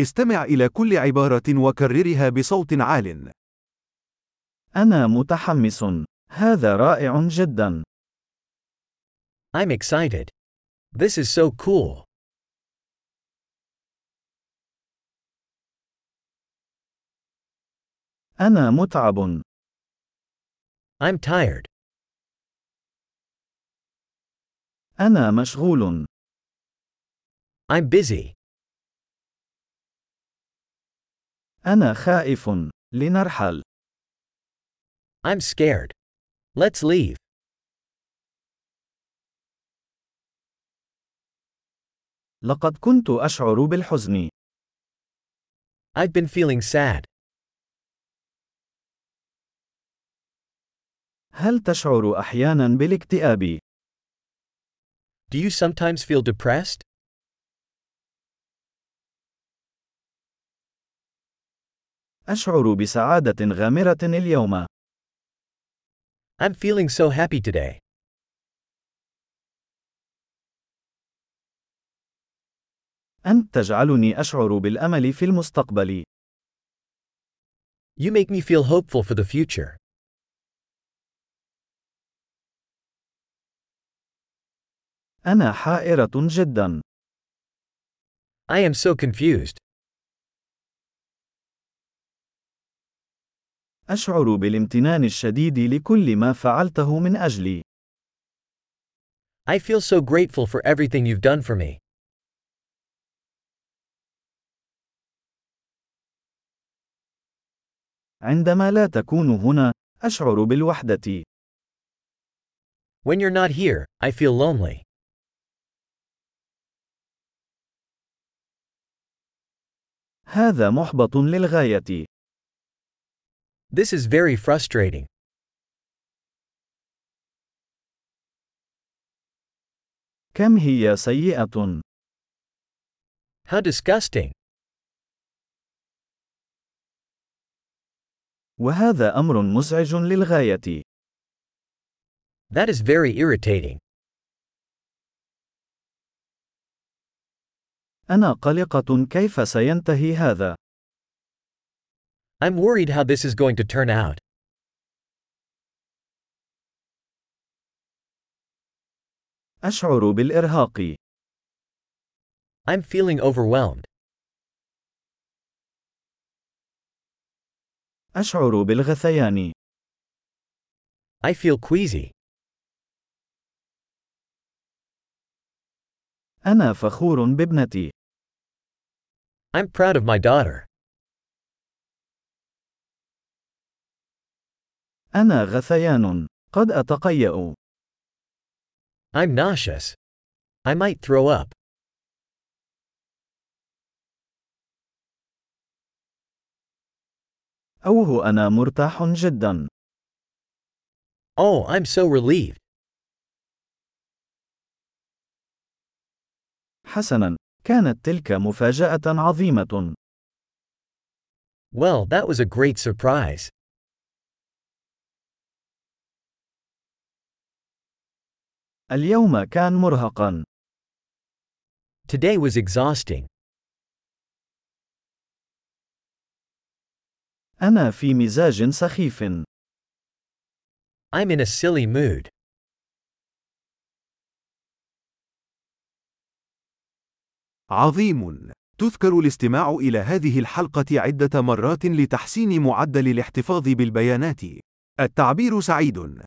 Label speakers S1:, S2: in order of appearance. S1: استمع إلى كل عبارة وكررها بصوت عال.
S2: أنا متحمس. هذا رائع جدا.
S3: I'm excited. This is so cool.
S2: أنا متعب.
S3: I'm tired.
S2: أنا مشغول.
S3: I'm busy.
S2: أنا خائف. لنرحل.
S3: I'm scared. Let's leave.
S2: لقد كنت أشعر بالحزن.
S3: I've been feeling sad.
S2: هل تشعر أحيانا بالاكتئاب؟
S3: Do you sometimes feel depressed?
S2: أشعر بسعادة غامرة اليوم.
S3: I'm feeling so happy today.
S2: أنت تجعلني أشعر بالأمل في المستقبل.
S3: You make me feel hopeful for the future.
S2: أنا حائرة جدا.
S3: I am so confused.
S2: أشعر بالامتنان الشديد لكل ما فعلته من أجلي.
S3: I feel so grateful for everything you've done for me.
S2: عندما لا تكون هنا، أشعر بالوحدة.
S3: When you're not here, I feel lonely.
S2: هذا محبط للغاية.
S3: This is very frustrating.
S2: كم هي سيئة.
S3: How disgusting.
S2: وهذا أمر مزعج للغاية.
S3: That is very irritating.
S2: أنا قلقة كيف سينتهي هذا.
S3: I'm worried how this is going to turn out.
S2: أشعر بالإرهاق.
S3: I'm feeling overwhelmed.
S2: أشعر بالغثيان.
S3: I feel queasy.
S2: أنا فخور بابنتي.
S3: I'm proud of my daughter.
S2: أنا غثيان. قد أتقيأ.
S3: I'm nauseous. I might throw up.
S2: أوه أنا مرتاح جدا.
S3: Oh, I'm so relieved.
S2: حسنا، كانت تلك مفاجأة عظيمة.
S3: Well, that was a great surprise.
S2: اليوم كان مرهقا.
S3: Today was exhausting.
S2: أنا في مزاج سخيف.
S3: I'm in a silly mood.
S1: عظيم. تذكر الاستماع إلى هذه الحلقة عدة مرات لتحسين معدل الاحتفاظ بالبيانات. التعبير سعيد.